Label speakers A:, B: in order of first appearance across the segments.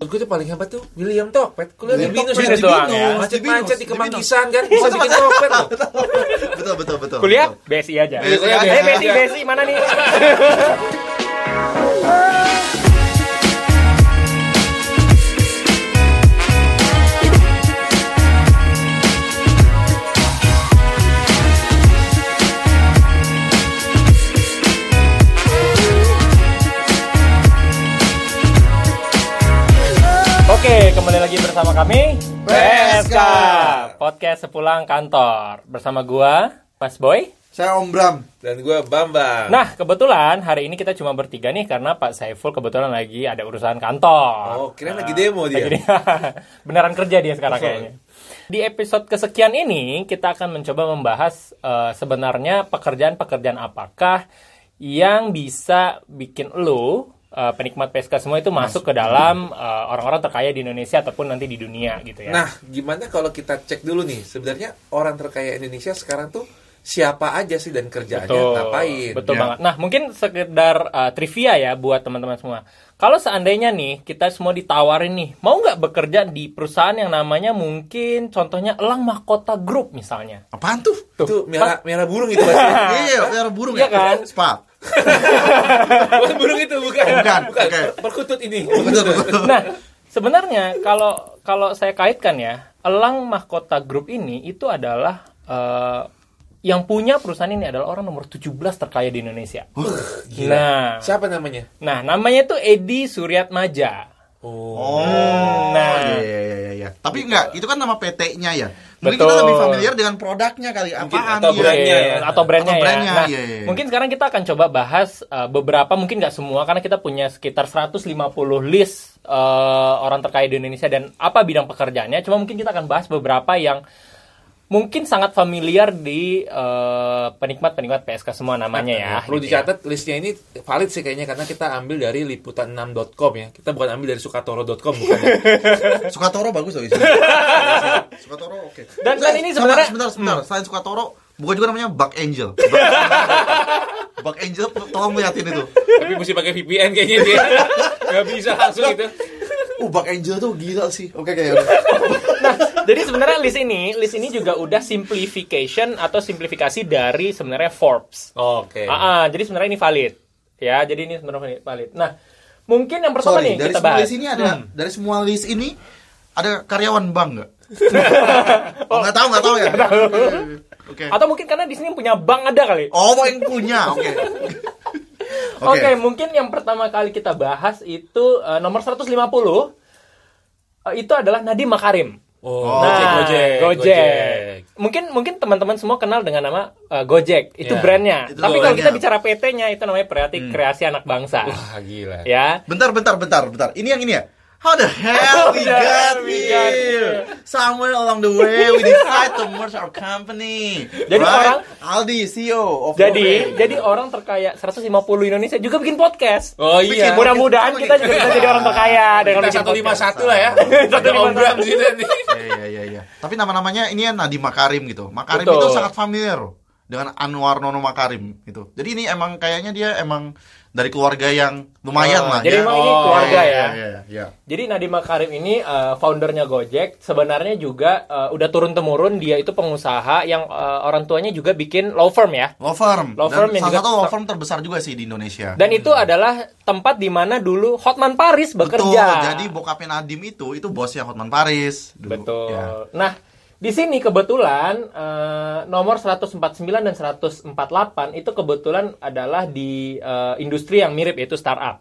A: Menurut gue tuh paling hebat tuh William Topet. Kuliah di Binus
B: William
A: ya.
B: Topet itu doang ya.
A: Macet-macet di
B: Di Binus,
A: Kemangkisan kan bisa bikin Topet loh.
C: betul betul betul.
B: Kuliah
C: betul.
B: BSI aja.
C: BSI aja.
B: Eh BSI BSI mana nih? Oke, kembali lagi bersama kami
C: PSK.
B: Podcast Sepulang Kantor Bersama gua, Mas Boy
C: Saya Om Bram.
A: Dan gue Bambang.
B: Nah, kebetulan hari ini kita cuma bertiga nih karena Pak Saiful kebetulan lagi ada urusan kantor.
A: Oh, kirain lagi demo
C: Iya.
A: dia.
B: Lagi Beneran kerja dia sekarang kayaknya. Di episode kesekian ini kita akan mencoba membahas eh, sebenarnya pekerjaan-pekerjaan apakah yang bisa bikin lo eh, penikmat PSK semua itu masuk, ke dalam eh, orang-orang terkaya di Indonesia ataupun nanti di dunia gitu ya.
A: Nah, gimana kalau kita cek dulu nih sebenarnya orang terkaya Indonesia sekarang tuh siapa aja sih dan kerjaannya
B: Betul.
A: ngapain?
B: Betul
C: Ya.
B: banget. Nah, mungkin sekedar uh, trivia ya buat teman-teman semua. Kalau seandainya nih kita semua ditawarin nih, mau nggak bekerja di perusahaan yang namanya mungkin contohnya Elang Mahkota Group misalnya.
C: Apaan tuh?
A: Itu merah merah burung itu Mas.
C: Iya, biar burung
B: Iya
C: ya.
B: kan?
C: Spa.
A: Bukan burung itu bukan.
C: Bukan, oke.
A: Per- Perkutut ini.
C: Betul betul.
B: Nah, sebenarnya kalau kalau saya kaitkan ya, Elang Mahkota Group ini itu adalah uh, yang punya perusahaan ini adalah orang nomor 17 terkaya di Indonesia. Nah,
A: Siapa namanya?
B: nah namanya itu Edi Suryatmaja.
A: Oh.
C: Oh, iya, iya,
B: Nah.
C: iya, iya, iya.
A: Gitu.
C: Tapi enggak, itu kan nama PT-nya ya. Mungkin kita
B: Betul.
C: lebih familiar dengan produknya kali. Apaan?
A: atau brand.
C: iya.
A: brandnya ya.
B: atau brandnya
C: Atau
B: ya.
C: brandnya,
B: Nah,
C: iya, iya.
B: mungkin sekarang kita akan coba bahas uh, beberapa mungkin nggak semua karena kita punya sekitar 150 list uh, orang terkaya di Indonesia dan apa bidang pekerjaannya. Cuma mungkin kita akan bahas beberapa yang mungkin sangat familiar di uh, penikmat-penikmat PSK semua namanya ya.
A: Nah, Perlu
B: gitu ya.
A: dicatat listnya ini valid sih kayaknya karena kita ambil dari liputan6.com ya. Kita bukan ambil dari sukatoro.com bukan. ya.
C: Sukatoro bagus loh isinya. Sukatoro oke.
B: Dan- dan ini
C: Sama,
B: sebenarnya- Hmm.
C: sebentar sebentar. Selain Sukatoro, bukan juga namanya Bug Angel. Bug Angel tolong liatin itu.
A: Tapi mesti pakai VPN kayaknya dia. Gak bisa langsung gitu.
C: Uh, Bug Angel tuh gila sih. Oke kayak udah.
B: Jadi sebenarnya list ini, list ini juga udah simplification atau simplifikasi dari sebenarnya Forbes.
A: Oke.
B: Ah, ah, jadi sebenarnya ini valid. Ya, jadi ini sebenarnya valid. Nah, mungkin yang pertama
C: Sorry,
B: nih
C: dari
B: kita
C: semua
B: bahas. Hmm.
C: list ini ada dari semua list ini ada karyawan bank nggak? oh, nggak tahu nggak tahu ya. Oke.
B: Atau mungkin karena di sini yang punya bank ada kali.
C: Oh, mau yang punya. Oke.
B: Oke, mungkin yang pertama kali kita bahas itu eh, nomor 150 eh, itu adalah Nadiem Makarim.
A: Oh,
B: Nah,
A: Gojek, Gojek. Gojek.
B: Mungkin mungkin teman-teman semua kenal dengan nama eh, Gojek. Itu
A: Ya,
B: brandnya.
C: itu
B: Tapi kalau
C: brandnya.
B: kita bicara PT-nya itu namanya Kreati Kreasi Anak Bangsa.
A: Hmm. Wah, gila.
B: Ya.
C: Bentar, bentar, bentar, bentar. Ini yang ini ya. How the hell we
B: How the hell
C: got
B: we got here?
C: here? Somewhere along the way, we decide to merge our company.
B: Jadi orang-
C: Aldi, CEO of
B: Jadi,
C: Huawei.
B: jadi orang terkaya 150 Indonesia juga bikin podcast.
A: Oh
C: Bikin
A: iya.
C: bodoh
B: Mudah-mudahan kita juga bisa jadi orang terkaya dengan
A: Kita
B: bikin podcast.
A: 151 lah ya.
B: Satu
A: Ada
B: lima
A: Om Bram
B: satu.
A: di sini nanti.
C: Iya, iya, iya, iya. Tapi nama-namanya ini ya Nadiem Makarim gitu. Makarim
B: Betul.
C: itu sangat familiar dengan Anwar Nono Makarim gitu. Jadi ini emang kayaknya dia emang dari keluarga yang lumayan
B: Oh,
C: lah ya.
B: jadi emang ini
C: Iya,
B: keluarga
C: iya,
B: ya?
C: Iya, iya, iya.
B: Jadi Nadiem Makarim ini eh, foundernya Gojek, sebenarnya juga eh, udah turun temurun dia itu pengusaha yang eh, orang tuanya juga bikin law firm ya.
C: Law firm.
B: Law firm
C: Dan
B: yang
C: salah
B: juga-
C: satu law firm terbesar juga sih di Indonesia.
B: Dan itu adalah tempat di mana dulu Hotman Paris bekerja.
C: Betul. Jadi bokapnya Nadim itu itu bosnya Hotman Paris. dulu.
B: Betul.
C: Ya.
B: Nah, di sini kebetulan eh, nomor 149 dan 148 itu kebetulan adalah di eh, industri yang mirip yaitu startup.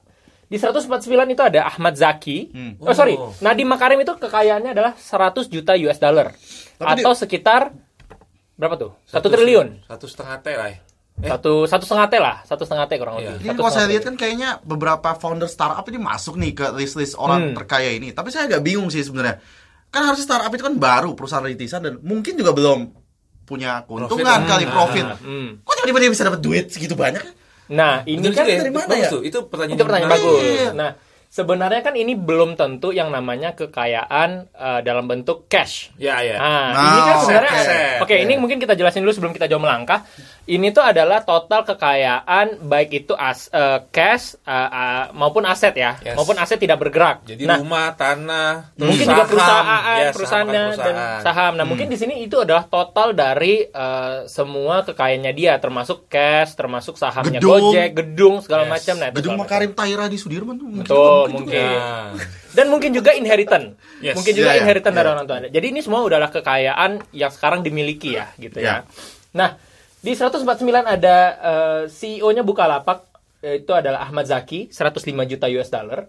B: Di 149 itu ada Ahmad Zaki. Oh sorry,
A: Oh.
B: Nadiem Makarim itu kekayaannya adalah 100 juta US dollar
C: Tapi
B: atau sekitar berapa tuh? Satu triliun.
A: Satu setengah T lah ya. Eh.
B: Satu satu setengah t lah, satu setengah t kurang
A: Iya.
B: lebih.
C: Ini
B: Satu
C: kalau saya
B: setengah T.
C: lihat kan kayaknya beberapa founder startup ini masuk nih ke list-list
B: Hmm.
C: orang terkaya ini. Tapi saya agak bingung sih sebenarnya. Kan harusnya startup itu kan baru perusahaan rintisan dan mungkin juga belum punya keuntungan
A: Profit.
C: kali
A: Hmm.
C: profit.
B: Hmm.
C: Kok tiba-tiba dia bisa dapat duit segitu banyak?
B: Nah, ini
A: Bener
B: kan
A: juga ya.
C: dari mana
A: Bagus
C: ya?
A: tuh. Itu pertanyaan
B: Itu pertanyaan
A: menarik.
B: bagus.
C: Iya.
B: Nah, sebenarnya kan ini belum tentu yang namanya kekayaan eh, dalam bentuk cash.
A: Ya, ya.
B: Nah,
C: Nah,
B: ini kan sebenarnya
C: aset,
A: aset.
B: oke,
A: Iya.
B: ini mungkin kita jelasin dulu sebelum kita jauh melangkah. Ini tuh adalah total kekayaan baik itu as eh, cash eh, eh, maupun aset ya,
A: Yes.
B: maupun aset tidak bergerak.
A: Jadi
B: nah,
A: rumah, tanah, terus
B: mungkin juga
A: saham.
B: perusahaan, eh,
A: Ya, saham
B: perusahaan,
A: akan
B: dan
A: perusahaan. Hmm.
B: saham. Nah, mungkin di sini itu adalah total dari eh, semua kekayaannya dia, termasuk cash, termasuk sahamnya
C: Gedung.
B: Gojek, gedung segala
A: Yes.
B: macam. Nah, itu
C: Gedung
B: segala
C: Makarim Taira di Sudirman tuh mungkin
B: Betul,
C: juga.
B: mungkin.
A: Nah,
B: dan mungkin juga inheritance.
A: Yes.
B: Mungkin
C: Ya,
B: juga
C: ya.
B: inheritance dari
C: Ya.
B: orang tua Anda. Jadi ini semua udahlah kekayaan yang sekarang dimiliki ya, gitu ya.
C: Ya.
B: Nah, di 149 ada eh, CEO-nya Bukalapak eh, itu adalah Ahmad Zaki 105 juta US dollar.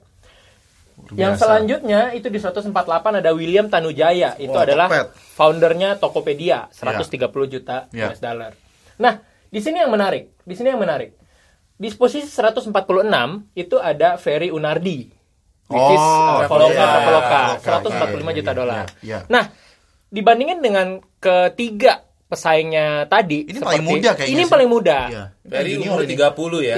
C: Luar
B: Yang
C: biasa.
B: selanjutnya itu di 148 ada William Tanujaya. Itu
C: Wah,
B: adalah
C: Tokped.
B: foundernya Tokopedia, 130 juta
C: Ya.
B: US dollar. Nah, di sini yang menarik, di sini yang menarik. Di posisi 146 itu ada Ferry Unardi. Which
C: Oh,
B: is uh, Traveloka,
A: iya,
B: Traveloka,
C: Traveloka,
B: 145 juta
C: iya,
B: dolar.
C: iya.
B: Nah, dibandingin dengan ketiga pesaingnya tadi
C: Ini paling muda kayaknya
B: Ini
C: sih.
B: paling muda.
C: Iya.
A: dari
C: Junior
A: umur
C: ini.
A: 30 ya.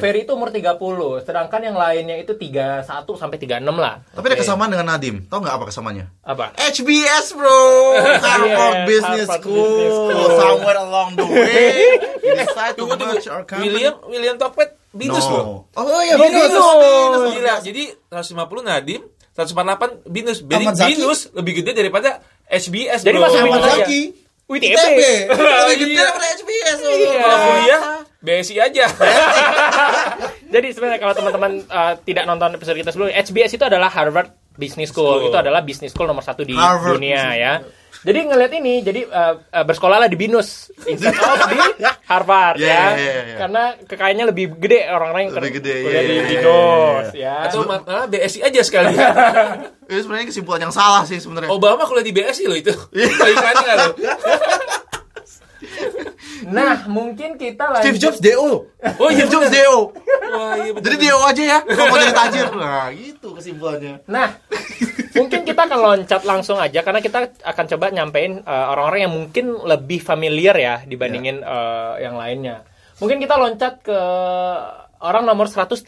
C: Iya, iya.
B: Ferry itu umur 30, sedangkan yang lainnya itu 31 sampai 36 lah.
C: Tapi ada
A: Oke.
C: kesamaan dengan Nadim. Tau nggak apa kesamaannya?
B: Apa?
C: HBS bro, Harvard
B: Yes,
C: Business
B: Harvard
C: School.
B: Business School.
C: Somewhere along the way, we decide to
A: Tunggu tunggu.
C: merge our company.
A: William William Tokped binus
C: No.
A: loh.
C: Oh iya,
B: Dia
C: binus.
B: binus.
C: binus,
A: Gila.
C: binus.
A: Jadi 150 Nadim, 148 binus. Jadi
C: Ahmad Zaki.
A: binus lebih gede daripada SBS.
B: Jadi
A: bro.
B: masih
C: Sama
B: binus aja.
C: lagi.
B: UITB.
C: ITB. Lebih
A: Iya.
C: gede ya, daripada HBS. loh.
B: Iya.
A: Kalau kuliah BSI aja.
B: Jadi sebenarnya kalau teman-teman eh, tidak nonton episode kita sebelumnya, HBS itu adalah Harvard Business School.
A: School.
B: Itu adalah business school nomor satu di
C: Harvard
B: dunia
C: Business
B: ya. Jadi ngelihat ini, jadi eh, eh, bersekolahlah di Binus instead of di Harvard
C: Iya,
B: ya,
C: iya, iya, iya.
B: karena kekayaannya lebih gede orang-orang yang
C: Lebih
B: ker-
C: gede,
B: kuliah
C: iya,
B: di
C: iya,
B: Binus
C: iya,
B: ya.
A: Atau ah, malah BSI aja sekali.
C: Ini sebenarnya kesimpulan yang salah sih sebenarnya.
A: Obama kuliah di BSI loh itu. Kebalikannya nggak loh.
B: Nah mungkin kita lagi
C: Steve Jobs DO.
A: Oh iya
C: Steve Jobs
A: bener.
C: DO.
A: Wah, iya bener.
C: Jadi DO aja ya, kalau mau jadi tajir. Nah, gitu kesimpulannya.
B: Nah, mungkin kita akan loncat langsung aja karena kita akan coba nyampein uh, orang-orang yang mungkin lebih familiar ya dibandingin uh, yang lainnya. Mungkin kita loncat ke orang nomor 133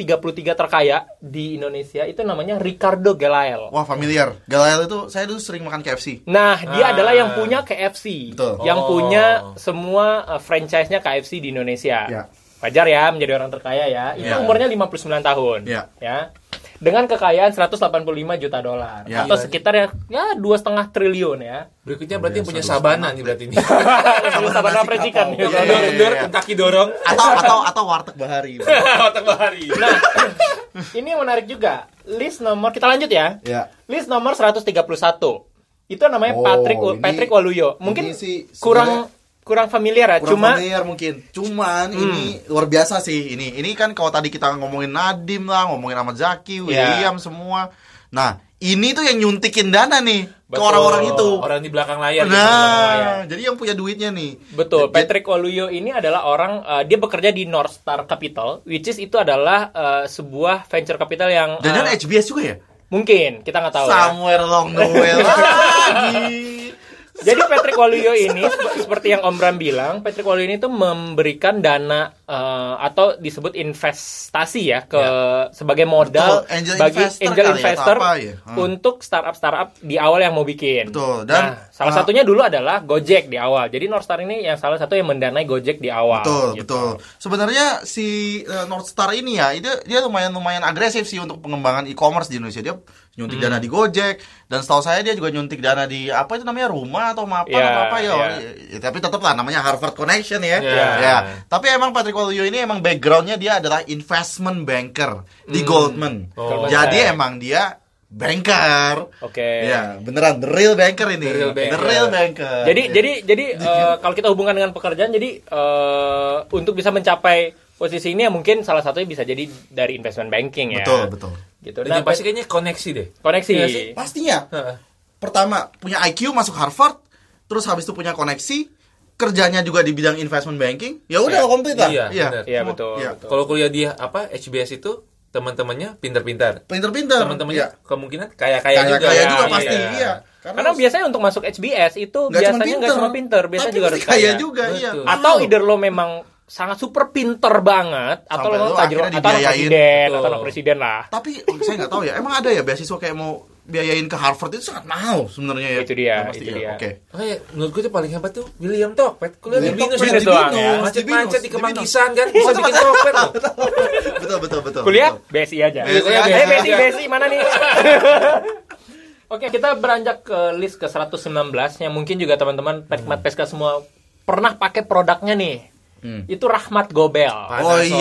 B: terkaya di Indonesia itu namanya Ricardo Gelael.
C: Wah, familiar. Galael itu saya dulu sering makan KFC.
B: Nah,
A: Ah.
B: dia adalah yang punya KFC,
C: Betul.
B: yang
A: Oh.
B: punya semua uh, franchise-nya KFC di Indonesia.
C: Ya.
B: Wajar ya menjadi orang terkaya ya. Itu
A: Ya.
B: umurnya 59 tahun.
C: Ya.
B: Ya. Dengan kekayaan 185 juta dolar
C: Ya.
B: atau sekitar ya ya dua setengah triliun ya.
A: Berikutnya berarti
C: Iya,
A: yang punya sabana nih berarti ini.
B: Sama Sabana
C: nasi
B: Percikan.
C: kapau. Iya, iya,
A: Dorong
C: iya.
A: dor, kaki dorong.
C: Atau atau atau warteg bahari.
A: Otak bahari.
B: Nah, ini yang menarik juga. List nomor kita lanjut ya.
C: Ya.
B: List nomor 131. Itu namanya
C: Oh,
B: Patrick
C: ini-
B: Patrick Waluyo. Mungkin
C: ini sih
B: kurang kurang familiar ya,
C: Kurang
B: cuma Hmm.
C: familiar mungkin. Cuman ini luar biasa sih ini. Ini kan kalau tadi kita ngomongin Nadim lah, ngomongin Ahmad
B: Iya.
C: Zaki, William semua. Nah, ini tuh yang nyuntikin dana nih ke
A: Betul.
C: orang-orang itu.
A: Orang di belakang
B: iya,
A: layar. gitu, belakang layar.
C: Nah, jadi yang punya duitnya nih.
B: Betul,
C: Jadi-
B: Patrick Oluyo ini adalah orang eh, dia bekerja di North Star Capital, which is itu adalah eh, sebuah venture capital yang eh,
C: Dan dan HBS juga ya?
B: mungkin kita nggak tahu. ya.
C: Somewhere along the way lagi.
B: Jadi Patrick Waluyo ini sep- seperti yang Om Bram bilang, Patrick Waluyo ini tuh memberikan dana eh, atau disebut investasi ya ke sebagai modal
C: Betul, angel
B: bagi
C: investor
B: angel
C: kali ya,
B: investor
C: atau apa ya? Hmm.
B: untuk startup startup di awal yang mau bikin.
C: Betul, dan-
B: Nah, salah
C: ah.
B: satunya dulu adalah Gojek di awal. Jadi Northstar ini yang salah satu yang mendanai Gojek di awal.
C: Betul,
B: gitu.
C: betul. Sebenarnya si eh, North Star ini ya, itu dia lumayan lumayan agresif sih untuk pengembangan e-commerce di Indonesia. Dia nyuntik dana di Gojek dan setahu saya dia juga nyuntik dana di apa itu namanya rumah atau apa
B: Iya,
C: atau apa ya.
B: iya.
C: Ya, Tapi tetap lah namanya Harvard Connection ya.
A: Iya.
C: Ya. Tapi emang Patrick Waluyo ini emang backgroundnya dia adalah investment banker di Goldman.
A: Oh.
C: Jadi
B: Goldman Sachs.
C: emang dia banker.
B: Oke.
C: Ya, beneran the real banker ini.
A: The real banker.
C: The real banker.
B: Jadi jadi jadi eh, kalau kita hubungkan dengan pekerjaan jadi eh, untuk bisa mencapai posisi ini ya mungkin salah satunya bisa jadi dari investment banking ya.
C: betul, betul.
B: Gitu.
A: Dan
B: Nah,
A: yang pasti kayaknya koneksi deh.
B: koneksi.
A: Iya sih?
C: Pastinya
A: Heeh.
C: pertama punya IQ masuk Harvard, terus habis itu punya koneksi, kerjanya juga di bidang investment banking, ya udah
A: Iya.
C: komplit lah.
A: Iya, benar.
B: Iya,
C: Semua-
B: betul,
C: iya.
B: betul.
A: Kalau kuliah dia apa HBS itu teman-temannya pintar-pintar.
C: Pinter-pinter.
A: Teman-temannya
C: Iya.
A: kemungkinan kaya-kaya
C: kayak
A: juga. kan?
C: kaya
B: ya,
C: juga
B: iya.
C: pasti, iya.
B: Karena biasanya untuk masuk HBS itu
C: nggak cuma
B: biasanya nggak cuma pinter, biasanya
C: tapi
B: juga
C: mesti
B: harus
C: kaya
B: kaya.
C: juga, iya.
A: Betul.
B: Atau either lo memang sangat super pinter banget, atau
C: Sampai
B: lo
C: lo
B: tajir,
C: akhirnya
B: atau anak
C: dibiayain.
B: presiden,
A: Betul.
B: atau
C: oh,
B: anak presiden lah.
C: Tapi saya nggak tahu ya, emang ada ya beasiswa kayak mau biayain ke Harvard itu sangat mahal sebenarnya ya.
B: Itu dia,
C: Pasti
B: itu
C: ya.
B: dia.
C: Oke.
A: Makanya menurut gue tuh paling hebat tuh William Tokpet. Kuliah di
C: William
A: Binus
C: Tokped
A: kan?
B: di doang ya.
A: Binus, Macet-macet
C: Di
A: di
C: Binus.
A: Kemangkisan kan bisa bikin Tokpet loh.
C: betul betul betul.
B: Kuliah
C: betul.
B: BSI aja.
C: BSI aja.
B: Eh BSI BSI mana nih? Oke, kita beranjak ke list ke 119 yang mungkin juga teman-teman penikmat Peska semua pernah pakai produknya nih.
C: Hmm.
B: Itu Rahmat Gobel.
C: Oh iya.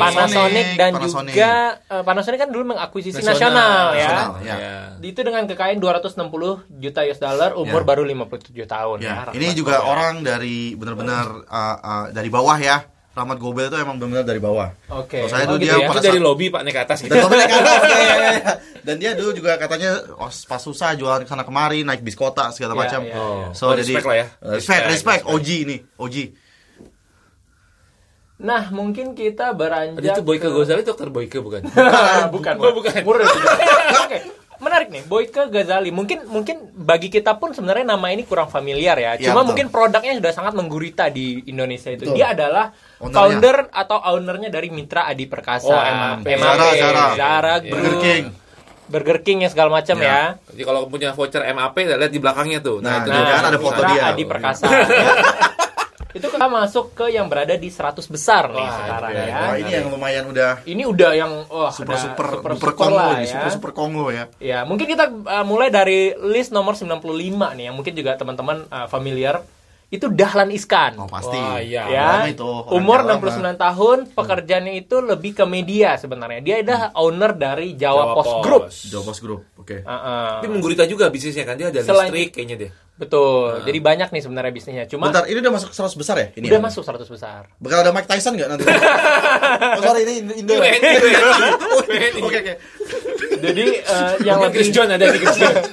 A: Panasonic,
B: Panasonic dan
C: Panasonic.
B: juga eh, Panasonic kan dulu mengakuisisi nasional, ya.
C: Nasional, ya.
A: Nah,
B: Itu dengan kekayaan 260 juta US dollar, umur
C: Ya.
B: baru 57 tahun.
C: Ya,
B: Rahmat
C: ini juga
B: Gobel.
C: orang dari benar-benar uh, uh, dari bawah ya. Rahmat Gobel itu emang benar-benar dari bawah.
B: Oke.
C: Kalau saya
B: Oh,
C: dulu
B: gitu
C: dia
B: ya.
A: Itu
C: pada
A: dari
C: saat-
A: lobby Pak naik ke atas gitu.
C: Dan Gobel naik atas, ya, ya, ya. Dan dia dulu juga katanya oh, pas susah jualan sana kemari, naik bis kota segala
B: Ya,
C: macam.
B: ya, ya.
C: So
A: Oh,
C: jadi
A: respect lah ya.
C: Respect, respect,
A: Respect, respect.
C: OG ini, OG.
B: Nah, mungkin kita beranjak
A: Tadi itu Boyke Gozali dokter Boyke bukan?
B: bukan,
A: Oh, bukan.
B: Murni. Oke. Menarik nih, Boyke Ghazali. Mungkin mungkin bagi kita pun sebenarnya nama ini kurang familiar ya.
C: Iya,
B: Cuma
C: betul.
B: mungkin produknya sudah sangat menggurita di Indonesia itu.
C: Betul.
B: Dia adalah
C: Ownernya.
B: founder atau ownernya dari Mitra Adi Perkasa.
A: Oh, MAP.
C: Zara, Zara.
B: Zara
A: Iya.
B: Group,
C: Burger King.
B: Burger King yang segala macam
C: Iya.
B: ya.
A: Jadi kalau punya voucher MAP ya lihat di belakangnya tuh.
C: Nah,
A: itu
C: nah,
A: dia.
C: kan ada foto
B: Putra
C: dia.
B: Adi Perkasa. itu kita masuk ke yang berada di 100 besar nih sekarang
A: iya,
B: ya.
C: Wah, ini yang lumayan udah
B: Ini udah yang wah
C: super
B: udah
C: super
B: super
C: super
B: super
C: Kongo
B: lah
C: ini,
B: ya.
C: super super Kongo ya.
B: Ya, mungkin kita uh, mulai dari list nomor 95 nih yang mungkin juga teman-teman uh, familiar. Itu Dahlan Iskan.
C: Oh, pasti.
A: Wah, iya.
B: Ya,
C: Orang itu, orang
B: umur
C: Jawa,
B: 69 tahun, pekerjaannya itu lebih ke media sebenarnya. Dia adalah
C: Hmm.
B: owner dari
A: Jawa
B: Jawa, Post
A: Post.
B: Group.
C: Jogos Group. Oke.
B: Uh-uh.
A: Tapi menggurita juga bisnisnya kan dia ada
B: Selain-
A: listrik kayaknya dia.
B: Betul. Jadi banyak nih sebenarnya bisnisnya. Cuma
C: Bentar, ini udah masuk 100 besar ya? Ini
B: udah
C: ya?
B: masuk 100 besar.
C: Bakal ada Mike Tyson nggak nanti? oh, sorry ini Indo- Indo.
A: WNI,
C: Oke oke.
B: Jadi eh, yang
A: Mungkin Chris
B: lebih
A: John ada di Chris John.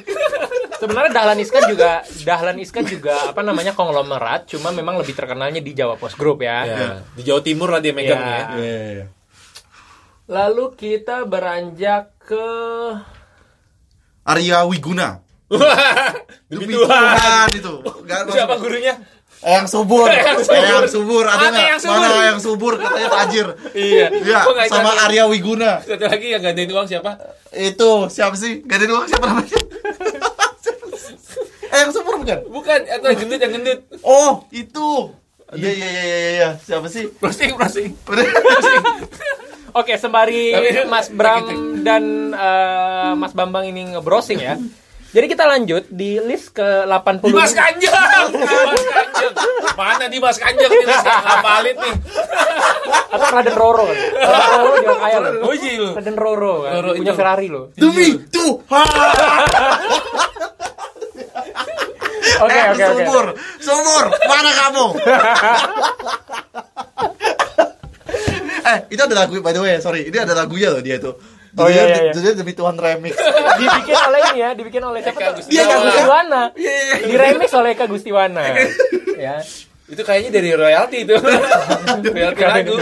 B: sebenarnya Dahlan Iskan juga Dahlan Iskan juga apa namanya konglomerat, cuma memang lebih terkenalnya di Jawa Post Group ya.
A: Ya, di Jawa Timur lah dia megangnya.
B: Iya.
A: ya.
C: Iya, iya, iya.
B: Lalu kita beranjak ke
C: Arya Wiguna.
A: Bituan.
C: itu.
A: Siapa gurunya?
C: Eyang subur.
A: Eyang Subur.
C: Eyang subur. Ada
A: Mana
C: nggak?
A: Eyang Subur?
C: Mana Eyang subur katanya tajir.
A: Iya.
C: Iya,
A: Gua nggak
C: sama
A: ikut.
C: Arya Wiguna.
A: Satu lagi yang gandain uang siapa?
C: Itu siapa sih? Gak ada uang siapa namanya? Eyang subur bukan?
A: Bukan, atau yang gendut yang gendut.
C: Oh, itu. Iya iya iya iya iya. Siapa sih?
A: Browsing, browsing.
B: Oke, sembari
A: Tapi-
B: Mas Bram dan eh, Mas Bambang ini nge-browsing ya. Jadi kita lanjut di list ke 80.
A: Dimas Kanjeng. Dimas Kanjeng. Mana Dimas Kanjeng ini saya ngapalin nih.
B: Atau Raden Roro. kan? Raden Roro juga kaya loh.
A: Uji lu.
B: ya, Raden Roro
A: Oh,
B: kan.
A: iya. Roro
B: punya
A: itu.
B: Ferrari loh.
C: Demi
A: Iya.
C: Tuhan.
B: Oke,
C: Eyang
B: oke, oke.
C: subur. Subur, Nah, mana kamu? eh, itu ada lagu by the way, sorry. Ini ada lagunya loh dia itu.
B: Oh, iya, iya, iya.
C: Judulnya demi Tuhan remix.
B: Dibikin oleh ini ya, dibikin oleh siapa
A: Eka
B: tuh?
A: Gustiwana.
B: Eka Gustiwana.
C: Iya, iya, iya.
B: Di remix oleh Eka Gustiwana. ya.
A: Itu kayaknya dari royalti itu. royalti lagu.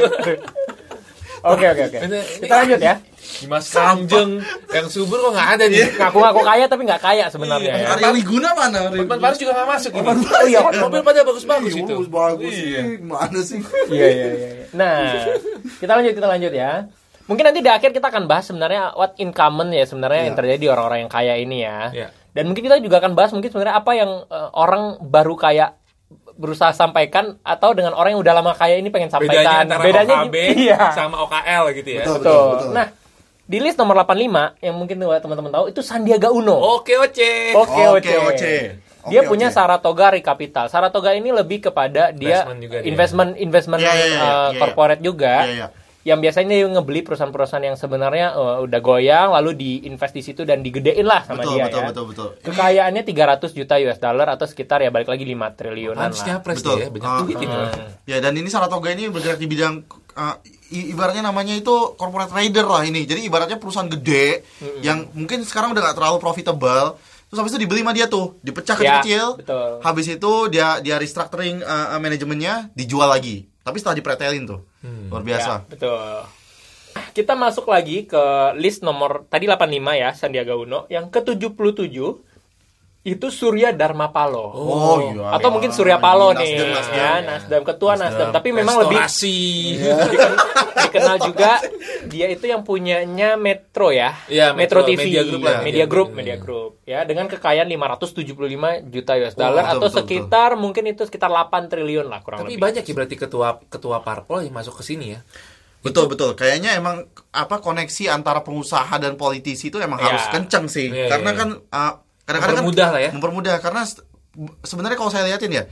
B: Oke, oke, oke.
A: Ini-
B: Kita lanjut ya.
A: Dimas Kanjeng yang subur kok nggak ada nih.
B: Ngaku-ngaku kaya tapi nggak kaya sebenarnya
A: Iya.
B: ya.
C: Arya Wiguna mana? Arya
A: Hotman
C: Wiguna?
A: Paris juga nggak masuk ini.
B: Oh iya, Hotman
A: Mobil pada bagus-bagus
C: Iya,
A: itu.
C: Bagus
A: Iya.
C: sih. Mana sih?
B: Iya iya iya. iya. Nah, kita lanjut kita lanjut ya. Mungkin nanti di akhir kita akan bahas sebenarnya what in common ya sebenarnya yang terjadi di orang-orang yang kaya ini ya.
A: Iya.
B: Dan mungkin kita juga akan bahas mungkin sebenarnya apa yang eh, orang baru kaya berusaha sampaikan atau dengan orang yang udah lama kaya ini pengen
A: Bedanya
B: sampaikan.
A: antara OKB
B: gi- iya.
A: sama OKL gitu ya.
C: Betul.
B: Betul. Nah, di list nomor 85 yang mungkin teman-teman tahu itu Sandiaga Uno.
A: Oke, oce.
B: Oke,
C: Oke,
B: oke.
C: oce.
B: Dia
C: Oke,
B: punya
C: oce.
B: Saratoga Recapital. Saratoga ini lebih kepada dia
A: Investment juga dia.
B: investment investment
C: Iya, iya, iya,
B: uh,
C: iya, iya.
B: corporate juga.
C: Iya, iya.
B: Yang biasanya dia ngebeli perusahaan-perusahaan yang sebenarnya uh, udah goyang lalu diinvest di situ dan digedein lah sama
C: Betul,
B: dia
C: betul,
B: ya.
C: betul, betul. Ini-
B: Kekayaannya 300 juta US dollar atau sekitar ya balik lagi 5 triliunan
A: Harus
B: lah.
A: nyapres
C: Betul.
A: dia ya, banyak
C: Ah,
A: duit ini.
B: ah.
C: Ya dan ini Saratoga ini bergerak di bidang uh, i- ibaratnya namanya itu corporate trader lah ini. Jadi ibaratnya perusahaan gede yang mungkin sekarang udah nggak terlalu profitable. Terus habis itu dibeli sama dia tuh, dipecah
B: Ya,
C: kecil-kecil.
B: betul.
C: habis itu dia dia restructuring uh, uh, manajemennya, dijual lagi. Tapi setelah dipretelin tuh. Luar
B: Ya,
C: biasa.
B: betul. Kita masuk lagi ke list nomor tadi 85 ya Sandiaga Uno yang ke-77 itu Surya Dharma Palo.
C: Oh, iya.
B: Atau mungkin Surya Palo
C: Nasdem,
B: nih,
C: Nasdem,
B: ya,
C: ya.
B: Nasdem ketua Nasdem. Tapi memang lebih Iya.
A: Restorasi.
B: diken- dikenal juga dia itu yang punyanya Metro ya,
A: Iya,
B: Metro,
A: Metro,
B: TV,
A: Media Group lah,
B: Media
A: Media
B: Group,
A: Group,
B: Media
A: iya.
B: Group, ya dengan kekayaan 575 juta US dollar
C: betul,
B: atau
C: betul,
B: sekitar mungkin itu sekitar 8 triliun lah kurang
A: Tapi
B: lebih.
A: banyak ya berarti ketua ketua parpol yang masuk ke sini ya.
C: Betul betul. Kayaknya emang apa koneksi antara pengusaha dan politisi itu emang
B: Iya.
C: harus kenceng sih.
A: Iya,
C: karena
A: iya,
C: kan uh, kadang-kadang kan
A: Mempermudah lah ya.
C: Mempermudah karena se- sebenarnya kalau saya liatin ya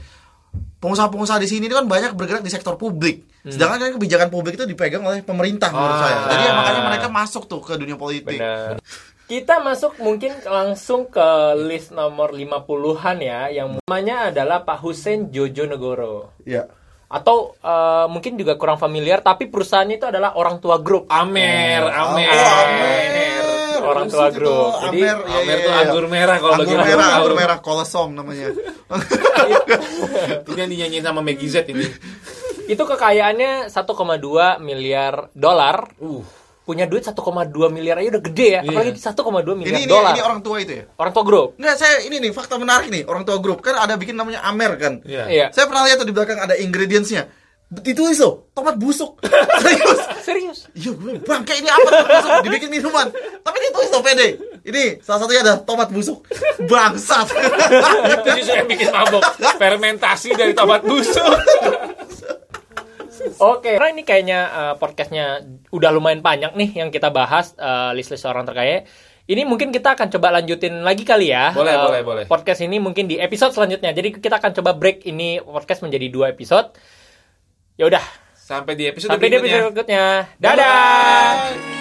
C: pengusaha-pengusaha di sini itu kan banyak bergerak di sektor publik. Sedangkan kan kebijakan publik itu dipegang oleh pemerintah menurut
A: Hmm. Ah.
C: saya. Jadi ya, makanya mereka masuk tuh ke dunia politik.
B: Benar. Kita masuk mungkin langsung ke list nomor 50-an ya, yang namanya adalah Pak Hussein Jojo Negoro.
C: Iya.
B: Atau eh, mungkin juga kurang familiar, tapi perusahaannya itu adalah orang tua grup.
A: Amer, Amer. Amer.
C: Oh, Amer.
B: Orang tua
C: Maksudnya
B: grup.
C: tuh
B: Jadi,
C: Amer, iya,
A: Amer
C: iya,
A: tuh
C: iya.
A: anggur merah Iya. kalau
C: anggur
A: bagi orang
C: merah,
A: tahu.
C: anggur merah, kolesom namanya.
A: Ini yang dinyanyiin sama Maggie Z ini.
B: Itu kekayaannya 1,2 miliar dolar.
A: Uh.
B: Punya duit 1,2 miliar aja udah gede ya.
A: Iya.
B: Apalagi 1,2
C: ini
B: miliar
C: ini,
B: dolar.
C: ini orang tua itu ya.
B: orang tua grup.
C: Nggak, saya ini nih fakta menarik nih. Orang tua grup kan ada bikin namanya Amer kan.
A: Iya.
B: Iya.
C: Saya pernah lihat tuh di belakang ada ingredientsnya. Ditulis tuh, tomat busuk. Serius.
B: Serius.
C: Iya gue bilang, bangke ini apa tomat busuk dibikin minuman. Tapi ditulis tuh pede. Ini salah satunya ada tomat busuk. Bangsat.
A: Itu justru yang bikin mabok. Fermentasi dari tomat busuk.
B: Oke, karena ini kayaknya eh, podcastnya udah lumayan panjang nih yang kita bahas eh, list-list orang terkaya. Ini mungkin kita akan coba lanjutin lagi kali ya.
A: Boleh,
B: Eh,
A: boleh, boleh.
B: Podcast ini mungkin di episode selanjutnya. Jadi kita akan coba break ini podcast menjadi dua episode. Ya udah,
A: Sampai di episode
B: sampai di
A: berikutnya.
B: episode berikutnya. Dadah.
A: Bye.